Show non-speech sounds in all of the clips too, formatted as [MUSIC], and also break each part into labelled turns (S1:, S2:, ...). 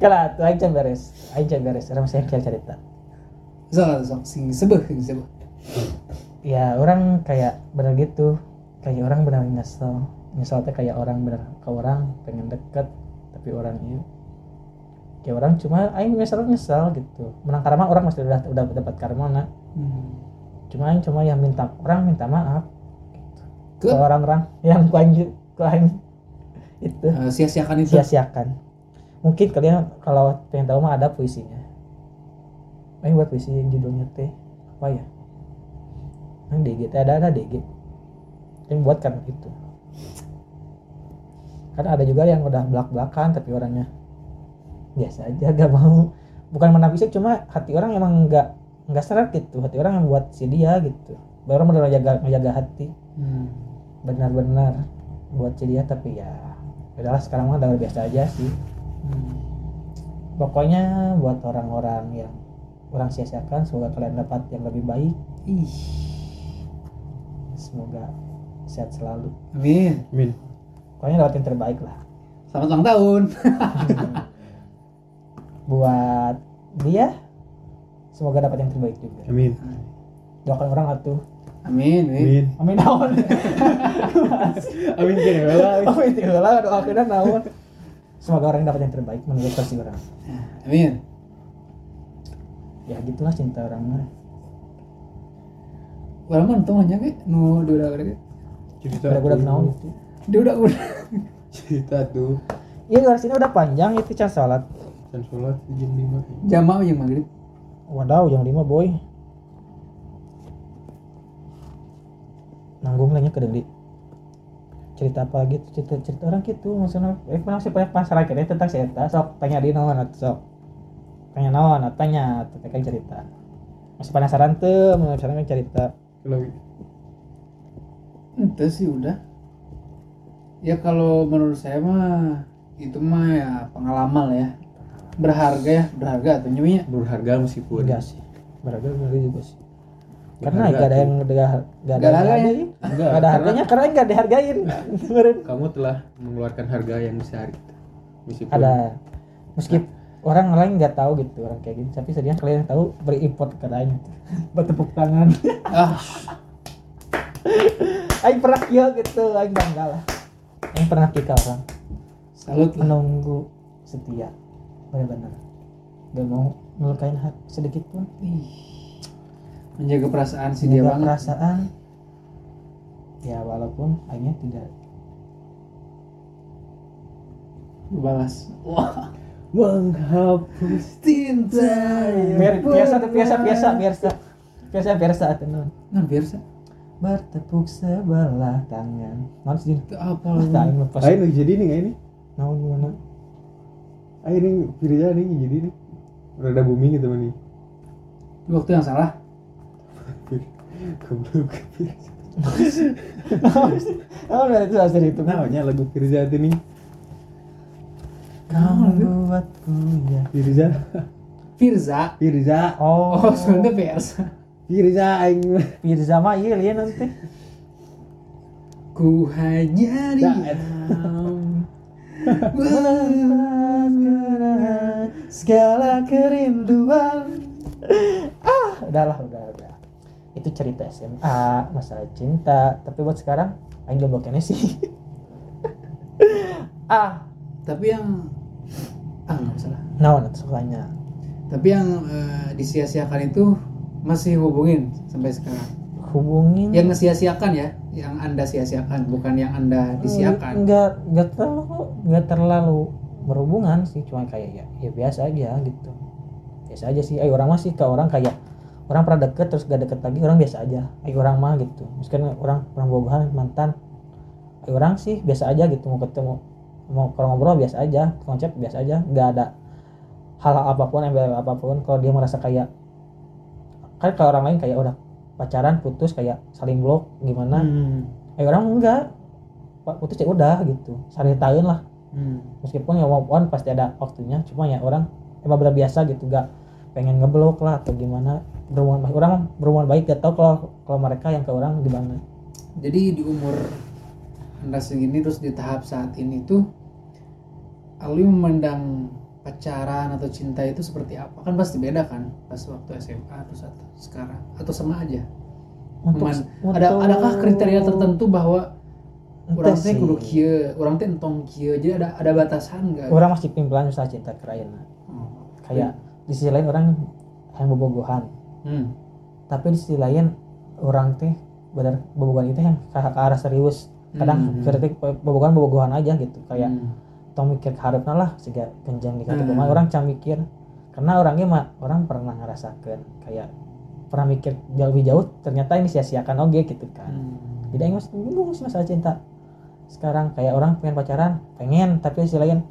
S1: Kala, tu aing can beres. Aing can beres. Orang saya kial cerita.
S2: Sok sok sing sebeh sing sebeh.
S1: Ya, orang kayak bener gitu. Kayak orang benar nyesel. Nyesel teh kayak orang bener ke orang pengen deket tapi orang itu kayak orang cuma aing nyesel nyesel gitu. Menang karma orang masih udah udah dapat karma nah.
S2: Hmm.
S1: Cuma aing cuma yang minta orang minta maaf gitu.
S2: Ke
S1: ke orang-orang yang kuanjut kuanjut itu
S2: eh, sia-siakan itu.
S1: sia-siakan mungkin kalian kalau pengen tahu mah ada puisinya Aing buat puisi yang judulnya teh apa ya yang DG teh ada ada DG yang buat kan itu kan ada juga yang udah belak belakan tapi orangnya biasa aja [LAUGHS] gak mau bukan menapisi cuma hati orang emang nggak nggak seret gitu hati orang yang buat si dia gitu baru benar jaga jaga hati
S2: Hmm.
S1: benar-benar buat si dia tapi ya udahlah sekarang mah udah biasa aja sih
S2: Hmm.
S1: pokoknya buat orang-orang yang orang sia-siakan semoga kalian dapat yang lebih baik
S2: Ih.
S1: semoga sehat selalu
S2: Amin.
S3: Min.
S1: pokoknya dapat yang terbaik lah
S2: Selamat ulang tahun.
S1: buat dia semoga dapat yang terbaik juga
S3: Amin.
S1: doakan orang atuh
S2: Amin. Amin.
S1: amin
S3: Amin.
S1: naon
S3: Amin kene bae lah.
S1: amin tiulah doakan naon semoga orang dapat yang terbaik menurut versi orang
S2: Eh, Amin.
S1: ya gitulah cinta orang mah
S2: Orang mah untung hanya ge nu duda udah
S3: Cerita.
S1: budak-budak
S3: tuh.
S1: naon gitu
S2: Duda [LAUGHS] udah.
S3: Cerita tuh.
S1: Iya dari sini udah panjang itu can salat.
S3: Dan sholat jam 5.
S2: Jamak yang maghrib.
S1: Wadaw yang lima boy. Nanggung lainnya ke Dendi. Cerita apa gitu cerita cerita orang gitu maksudnya. Eh pernah sih banyak masalah kira Eh, tentang si Eta sok tanya di naon atuh, sok. Tanya naon atuh, tanya atuh, teh kan cerita. Masih penasaran tuh penasaran kan cerita.
S3: Kalau gitu.
S2: Itu sih udah. Ya kalau menurut saya mah itu mah ya pengalaman lah ya. Berharga ya, berharga atau nyuwinya.
S3: berharga meskipun.
S1: Enggak sih. Berharga berharga juga sih. Karena
S3: Berharga
S1: gak ada yang gak, gak ada
S2: Gak
S1: yang
S2: ada ya?
S1: hargain.
S3: Enggak.
S1: Gak ada
S3: karena
S1: harganya karena gak dihargain. Kemarin.
S3: Kamu telah mengeluarkan harga yang besar. gitu. Meskipun
S1: ada meskipun orang lain nggak tahu gitu orang kayak gini tapi sedihnya kalian yang tahu berimport ke lain [LAUGHS] buat tepuk tangan [LAUGHS]
S2: Ah,
S1: aing pernah kieu gitu aing bangga lah aing pernah kieu ke orang
S2: salut lah.
S1: menunggu setia benar-benar gak mau melukain hati sedikit pun
S2: Ih. Menjaga perasaan si
S1: menjaga
S2: dia banget.
S1: perasaan ya walaupun aingnya tidak
S2: Balas. Wah.
S3: menghapus
S2: Cinta.
S1: biar biasa biasa biasa biasa biasa biasa tenun
S2: Nah, biasa.
S1: bertepuk sebelah tangan non sedih
S2: Itu apa
S1: Wah,
S2: lah?
S1: aing lepas
S3: Ayo nih jadi nih kayak ini.
S1: naon gimana [LAUGHS]
S3: Ayo nih Firza nih jadi nih. Rada booming gitu nih.
S2: Di waktu yang salah.
S3: [LAUGHS] Goblok.
S1: Oh, nah, itu asal itu kan.
S3: Namanya lagu Firza itu nih.
S1: Kau buatku ya.
S3: Firza.
S2: Firza.
S3: Firza.
S1: Oh,
S2: Oh, sebenarnya Firza.
S3: Firza aing. mah.
S1: Pirza mah iya lihat nanti.
S2: Ku hanya [LAUGHS]
S3: Dah.
S2: diam.
S1: Melepaskan segala kerinduan. Ah, udahlah, udah, udah. Itu cerita SMA, masalah cinta. Tapi buat sekarang, aing jomblo kene sih. [LAUGHS] ah,
S2: Tapi yang ah nggak usah lah.
S1: naon atuh sukanya.
S2: Tapi yang eh, disia-siakan itu masih hubungin sampai sekarang.
S1: Hubungin.
S2: Yang ngesia-siakan ya, yang anda sia-siakan, bukan yang anda disiakan.
S1: Hmm, nggak nggak terlalu nggak terlalu berhubungan sih cuma kayak ya ya biasa aja gitu biasa aja sih ayo orang masih ke orang kayak orang pernah deket terus gak deket lagi orang biasa aja ayo orang mah gitu meskipun orang pernah bobohan mantan ayo orang sih biasa aja gitu mau ketemu mau kalau ngobrol biasa aja konsep biasa aja nggak ada hal apapun embel apapun kalau dia merasa kayak kan kalau orang lain kayak udah pacaran putus kayak saling blok gimana
S3: Hmm.
S1: eh orang enggak Pak putus ya udah gitu sehari tahun lah
S3: Hmm.
S1: meskipun ya move on pasti ada waktunya cuma ya orang emang udah biasa gitu gak pengen ngeblok lah atau gimana berhubungan baik orang berhubungan baik gak tau kalau kalau mereka yang ke orang gimana
S2: Jadi di umur anda segini terus di tahap saat ini tuh, Alwi memandang pacaran atau cinta itu seperti apa kan pasti beda kan pas waktu SMA terus atau sekarang atau sama aja Cuman, ada
S1: untuk-
S2: adakah kriteria tertentu bahwa
S1: Ente
S2: orang teh
S1: sih.
S2: kudu kieu orang teh entong kieu jadi ada ada batasan Hmm. enggak
S1: orang masih pimpinan usaha cinta keraina kayak di sisi lain orang yang bobogohan
S2: hmm.
S1: tapi di sisi lain orang teh benar bobogohan itu yang ke, ke arah serius kadang
S2: Hmm.
S1: kritik bobogohan bobogohan aja gitu kayak
S2: Hmm.
S1: tong mikir ke harapna lah sehingga kenjang di kata
S2: Hmm.
S1: kumaha, orang can mikir karena orangnya mah orang pernah ngerasakan kayak pernah mikir jauh lebih jauh ternyata ini sia-siakan oke gitu kan
S2: Hmm.
S1: tidak yang mas bingung sih masalah cinta sekarang kayak orang pengen pacaran pengen tapi sisi lain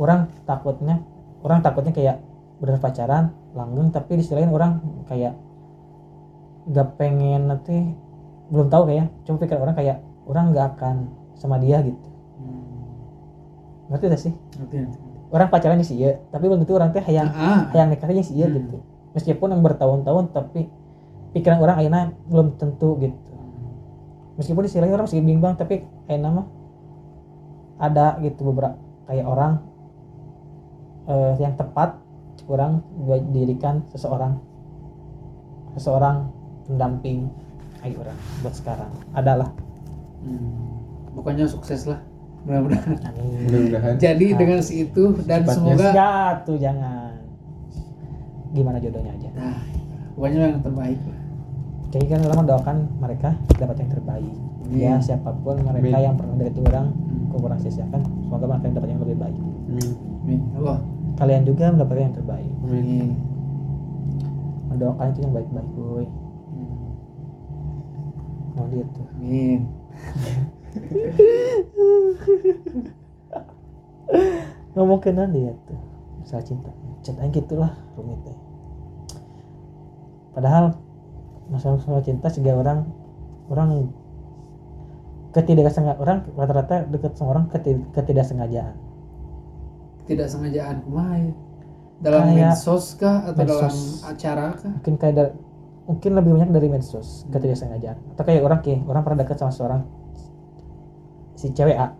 S1: orang takutnya orang takutnya kayak bener pacaran langgeng tapi di sisi lain orang kayak nggak pengen nanti belum tahu kayak cuma pikir orang kayak orang nggak akan sama dia gitu ngerti gak sih
S2: Hmm. Ngerti, ngerti.
S1: orang pacarannya sih ya tapi belum tentu orang teh hayang
S2: Ah, ah.
S1: hayang nikahnya sih ya
S2: Hmm.
S1: gitu meskipun yang bertahun-tahun tapi pikiran orang akhirnya belum tentu gitu meskipun di sisi lain orang masih bimbang tapi kayak nama ada gitu beberapa kayak orang eh, yang tepat kurang dirikan seseorang seseorang pendamping ayo orang buat sekarang adalah
S2: Hmm. bukannya sukses lah mudah-mudahan
S1: amin
S3: mudah-mudahan
S2: jadi
S1: Ah,
S2: dengan si itu dan
S3: Secepatnya.
S2: semoga
S1: Ya, tuh jangan gimana jodohnya aja
S2: nah pokoknya yang terbaik lah.
S1: jadi kan orang mendoakan mereka dapat yang terbaik ya
S2: Amin.
S1: siapapun mereka
S3: Amin.
S1: yang pernah dekati orang kurang sia-siakan semoga mereka dapat yang lebih baik
S3: amin
S2: Amin. Ya Allah
S1: kalian juga mendapatkan yang terbaik
S3: amin
S1: mendoakan itu yang baik-baik boy
S2: Hmm.
S1: nah gitu
S2: Amin.
S1: ngomong kenal dia tuh masalah cinta cintanya gitulah rumitnya padahal masalah masalah cinta sehingga orang orang ketidak orang rata-rata dekat sama orang keti- ketidaksengajaan
S2: tidak sengajaan kumaha ya? dalam
S1: Kayak
S2: medsos kah atau dalam
S1: medsos.
S2: acara kah
S1: mungkin kayak dar- mungkin lebih banyak dari medsos ketidaksengajaan atau kayak orang kayak orang pernah dekat sama seorang si cewek A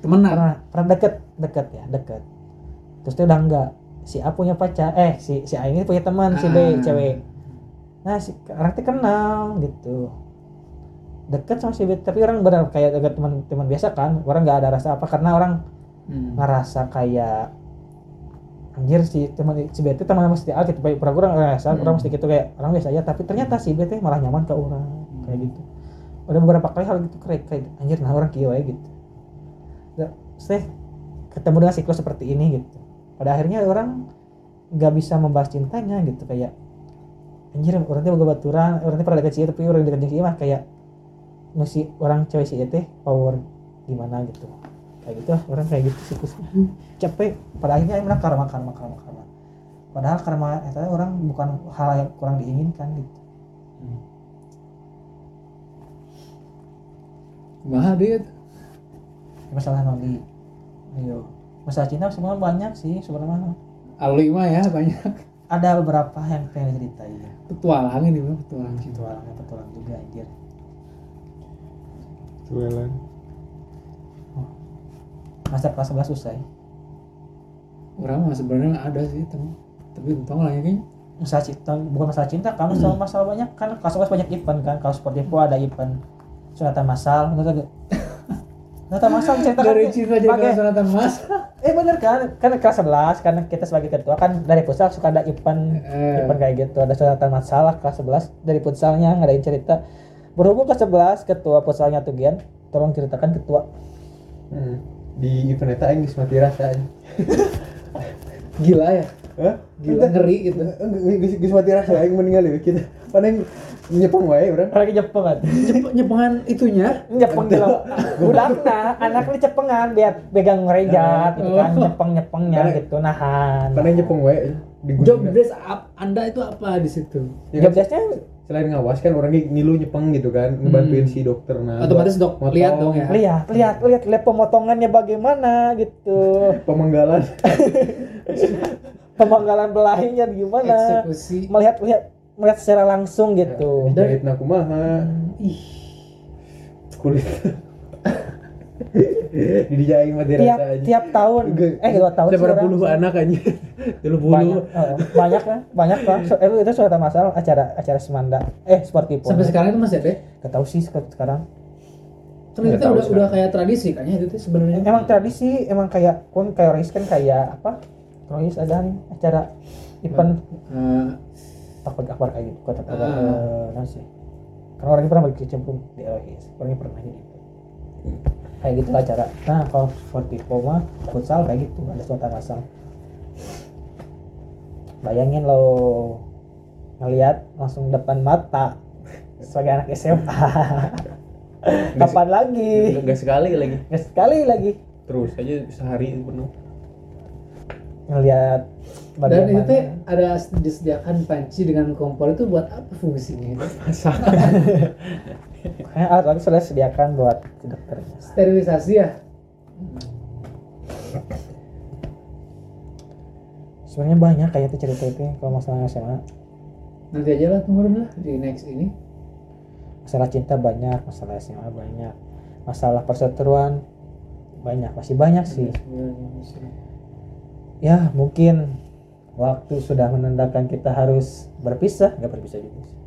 S2: temenan
S1: pernah pernah deket deket ya deket terus dia udah enggak si A punya pacar eh si si A ini punya teman si B
S2: Ah.
S1: cewek nah si orang teh kenal gitu deket sama si B tapi orang benar kayak deket teman teman biasa kan orang nggak ada rasa apa karena orang
S2: Hmm.
S1: Ah. ngerasa kayak anjir si teman si B teh teman sama si A gitu baik pernah orang ngerasa
S2: Hmm.
S1: orang mesti gitu kayak orang biasa aja tapi ternyata si B teh malah nyaman ke orang kayak gitu udah beberapa kali hal gitu kayak kayak anjir nah orang kieu wae gitu Da- saya ketemu dengan siklus seperti ini gitu pada akhirnya orang nggak bisa membahas cintanya gitu kayak anjir orang teh boga baturan orang teh pernah deket si ieu, tapi orang deket jeung si ieu mah kayak nu si orang cewek si ieu teh power gimana gitu kayak gitu lah, orang kayak gitu siklusnya capek pada akhirnya emang karma karma karma karma padahal karma itu orang bukan hal yang kurang diinginkan gitu
S2: Kumaha dia tuh?
S1: Ya, masalah noli ayo masalah cinta sebenarnya banyak sih sebenarnya
S2: Alwi mah ya banyak
S1: ada beberapa yang pengen diceritain Gitu,
S2: petualang ini mah petualang cinta
S1: petualangnya petualang juga anjir
S3: Suelan.
S1: master kelas 11 usai
S2: orang mah sebenarnya ada sih teman tapi entong lah ya kayaknya
S1: masalah cinta bukan masalah cinta kamu masalah, masalah banyak kan kelas 11 banyak event kan kalau sport info ada event sunatan masal bener gak sunatan masal diceritakan
S2: dari
S1: nih,
S2: cinta jadi
S1: pakai-
S2: kelas mas
S1: eh bener kan kan kelas 11 karena kita sebagai ketua kan dari futsal suka ada event
S2: Eh.
S1: event kayak gitu ada sunatan masalah kelas 11 dari futsalnya ngadain cerita berhubung kelas 11 ketua futsalnya Tugian tolong ceritakan ketua
S3: Hmm. di event eta aing geus mati rasa aing.
S2: gila ya
S3: Hah?
S2: gila
S3: Ente-
S2: ngeri gitu
S3: Ge- geus geus mati rasa aing meninggal ya kita. Padahal nyepang wae urang.
S1: orangnya jepengan
S2: Jep- jepengan itunya
S1: nyepeng dalam budakna anaknya cepengan biar pegang ngerejat gitu kan nyepeng nyepengnya
S3: Karena-
S1: gitu nahan
S3: Padahal nyepang wae di
S2: job desk up anda itu apa di situ
S3: Ya kan,
S1: jobdesknya
S3: selain ngawas kan orangnya ngilu nyepeng gitu kan, ngebantuin si dokter
S2: Hmm.
S3: nah.
S2: otomatis dok
S3: motong,
S2: lihat dong ya
S1: lihat lihat lihat lihat pemotongannya bagaimana gitu
S2: [LAUGHS]
S3: Pemenggalan.
S1: pemanggalan belahinya gimana
S2: eksekusi
S1: melihat lihat melihat secara langsung gitu
S3: [LAUGHS] Jahit nakumaha,
S2: ih
S3: kulit. didijain mati
S1: tiap
S3: rata aja
S1: tiap tahun
S3: Ge-
S1: eh dua tahun sih
S3: Seberapa
S1: orang.
S3: puluh anak
S2: [LAUGHS]
S3: aja Telur
S1: banyak
S3: puluh
S1: eh, banyak lah banyak lah so, eh, itu suara masal acara acara semanda eh seperti pun
S2: Sampai sekarang itu masih ada. ya?
S1: Gak tau sih sek- sekarang
S2: Ternyata
S3: Nggak tahu
S2: udah udah
S3: sekarang.
S2: kayak tradisi kayaknya itu tuh sebenarnya.
S1: emang tradisi emang kayak pun kayak Royce kan kayak apa Royce ada nih acara event
S2: Eh,
S1: takut akbar kayak gitu kata kabar
S2: Ah.
S1: eh, nah sih karena orangnya pernah berkecimpung di LHS orangnya pernah jadi gitu. kayak gitu acara nah kalau seperti koma futsal kayak gitu ada suatu masal bayangin lo ngelihat langsung depan mata sebagai anak
S2: [LAUGHS]
S1: SMA kapan lagi
S3: Enggak sekali lagi
S1: nggak sekali lagi
S3: Terus aja sehari penuh
S1: ngelihat
S2: dan
S1: bagaimana-
S2: itu teh ada disediakan panci dengan kompor itu buat apa fungsinya? itu?
S3: Masak
S1: Kayaknya alat lagi ah, sudah sediakan buat si dokter
S2: Sterilisasi ya.
S1: sebenarnya banyak kayak itu cerita itu kalau masalah SMA
S2: Nanti aja lah tunggu dulu lah di next ini.
S1: masalah cinta banyak masalah SMA banyak masalah perseteruan banyak masih banyak sih ya mungkin waktu sudah menandakan kita harus berpisah nggak berpisah juga sih.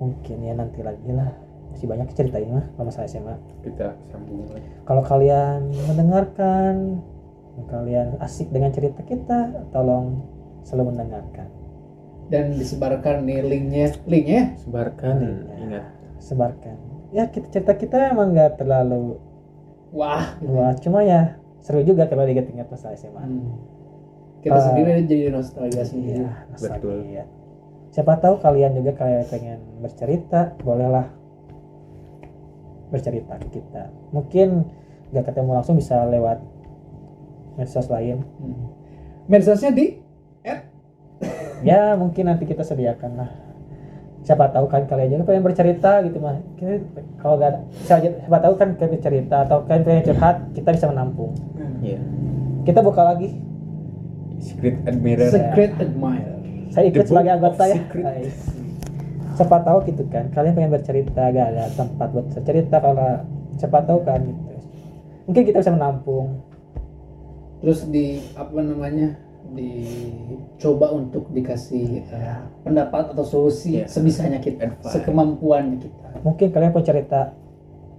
S1: mungkin ya nanti lagi lah masih banyak cerita ini mah kalau masalah SMA
S3: Kita sambung lagi
S1: kalau kalian mendengarkan kalian asik dengan cerita kita tolong selalu mendengarkan
S2: Dan disebarkan nih linknya, linknya.
S3: Sebarkan Ingat
S1: sebarkan ya kita cerita kita emang nggak terlalu
S2: Wah. gitu.
S1: Wah, cuma ya seru juga kalau diingat-ingat masa SMA.
S2: Hmm. Kita
S1: Ah.
S2: sendiri jadi nostalgia sendiri.
S1: Iya,
S3: Betul.
S1: nostalgia. Siapa tahu kalian juga kayak pengen bercerita, bolehlah bercerita ke kita. Mungkin nggak ketemu langsung bisa lewat medsos lain.
S2: Hmm. Medsosnya di
S1: Ya mungkin nanti kita sediakan lah. Siapa tahu kan kalian juga pengen bercerita gitu mah. Kita- Kalau nggak ada, bisa aja- siapa tahu kan kalian bercerita atau kalian pengen curhat, kita bisa menampung.
S3: Iya
S1: Kita buka lagi
S3: Secret admirer
S2: Secret Admirer.
S1: saya ikut
S3: The Book
S1: sebagai
S3: of
S1: anggota ya
S3: Secret.
S1: Hai. siapa tahu gitu kan kalian pengen bercerita gak ada tempat buat bercerita karena siapa tahu kan gitu mungkin kita bisa menampung
S2: Terus di apa namanya? dicoba untuk dikasih eh, pendapat atau solusi
S3: Iya.
S2: sebisanya kita,
S3: Advice.
S2: sekemampuan kita.
S1: mungkin kalian punya cerita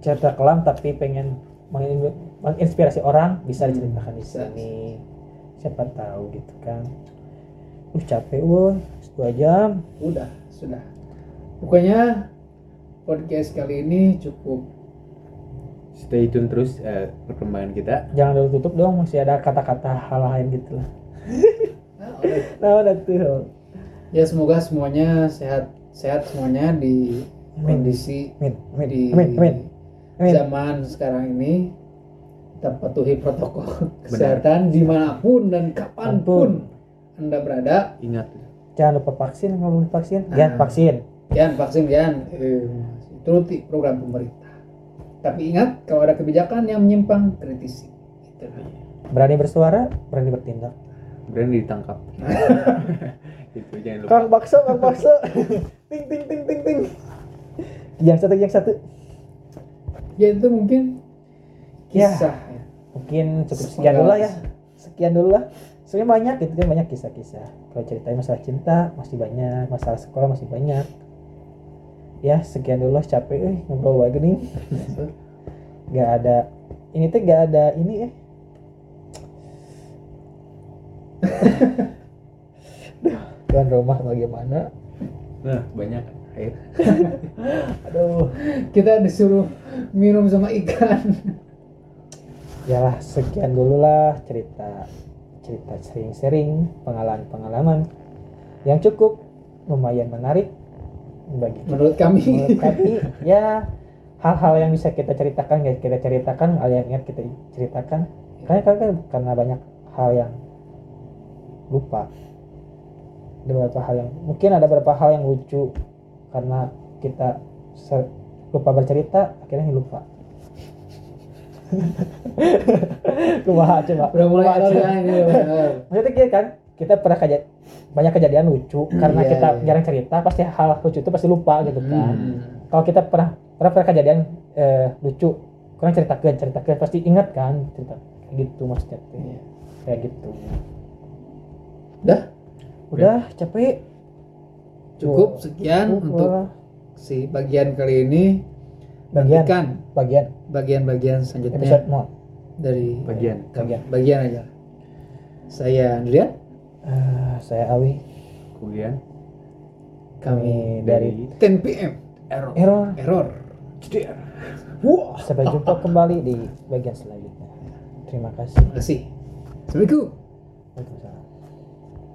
S1: cerita kelam tapi pengen mengin- menginspirasi orang bisa
S2: Hmm,
S1: diceritakan di
S2: bisa,
S1: sini siapa tahu gitu kan uh capek woi dua jam
S2: Udah, sudah. Pokoknya podcast kali ini cukup
S1: [COUGHS]
S3: Stay tune terus eh, perkembangan kita
S1: jangan dulu tutup dong masih ada kata-kata hal lain gitu lah
S2: Nah, oke.
S1: nah udah tuh
S2: Ya semoga semuanya sehat sehat semuanya di
S1: Amin.
S2: kondisi
S1: amin amin
S2: di
S1: amin amin amin
S2: zaman sekarang ini kita patuhi protokol kesehatan dimanapun dan kapanpun anda berada
S3: Ingat
S1: jangan lupa vaksin kalau belum vaksin
S2: Nah.
S1: jangan vaksin
S2: Yan, vaksin Yan. Eh, turuti program pemerintah. Tapi ingat, kalau ada kebijakan yang menyimpang, kritisi. Gitu. Itu dia.
S1: berani bersuara berani bertindak
S3: Berani ditangkap Itu jangan lupa
S1: kang bakso kang bakso [LAUGHS] ting ting ting ting ting yang satu yang satu
S2: Ya itu mungkin
S1: Ya,
S2: kisah. ya.
S1: mungkin cukup sekian dulu lah ya sekian dulu lah sebenarnya banyak gitu kan banyak kisah-kisah kalau ceritain masalah cinta masih banyak masalah sekolah masih banyak ya sekian dulu lah capek eh ngobrol lagi nih [LAUGHS] nggak ada ini tuh nggak ada ini [LAUGHS] ya tuan rumah bagaimana
S3: Nah banyak air
S1: aduh
S2: Kita disuruh minum sama ikan. [LAUGHS]
S1: ya lah, sekian dulu lah cerita cerita sering-sering pengalaman-pengalaman yang cukup lumayan menarik bagi kita
S2: Menurut kami.
S1: menurut kami ya hal-hal yang bisa kita ceritakan guys kita ceritakan hal yang ingat kita ceritakan karena karena, karena banyak hal yang lupa ada beberapa hal yang mungkin ada beberapa hal yang lucu karena kita ser- lupa bercerita akhirnya lupa [LAUGHS] Kumaha coba
S2: Udah mulai
S1: Kumaha,
S2: alot
S1: coba.
S2: ya ini udah
S1: [LAUGHS]
S2: benar.
S1: maksudnya kayak kan kita pernah kaja- banyak kejadian lucu karena
S2: Iya,
S1: kita
S2: iya.
S1: jarang cerita pasti hal lucu itu pasti lupa gitu kan
S2: Hmm.
S1: kalau kita pernah pernah pernah kejadian eh, lucu kurang ceritakan ceritakan pasti ingat kan cerita kayak gitu maksudnya teh.
S2: Iya.
S1: kayak gitu
S2: Udah?
S1: udah capek
S2: Cukup sekian
S1: Cukup
S2: untuk
S1: lah.
S2: si bagian kali ini.
S1: Bagian.
S2: Nantikan
S1: bagian
S2: bagian-bagian
S1: episode
S2: selanjutnya
S1: mau
S2: dari
S3: Bagian.
S1: bagian
S2: bagian aja. Saya Andrian,
S1: Eh, saya Awi
S3: Kemudian
S2: kami
S1: kami dari
S2: 10 PM
S3: error.
S1: error
S2: error.
S3: CDR.
S1: sampai jumpa kembali di bagian selanjutnya terima kasih
S2: Terima kasih. Assalamualaikum.
S1: Waalaikumsalam.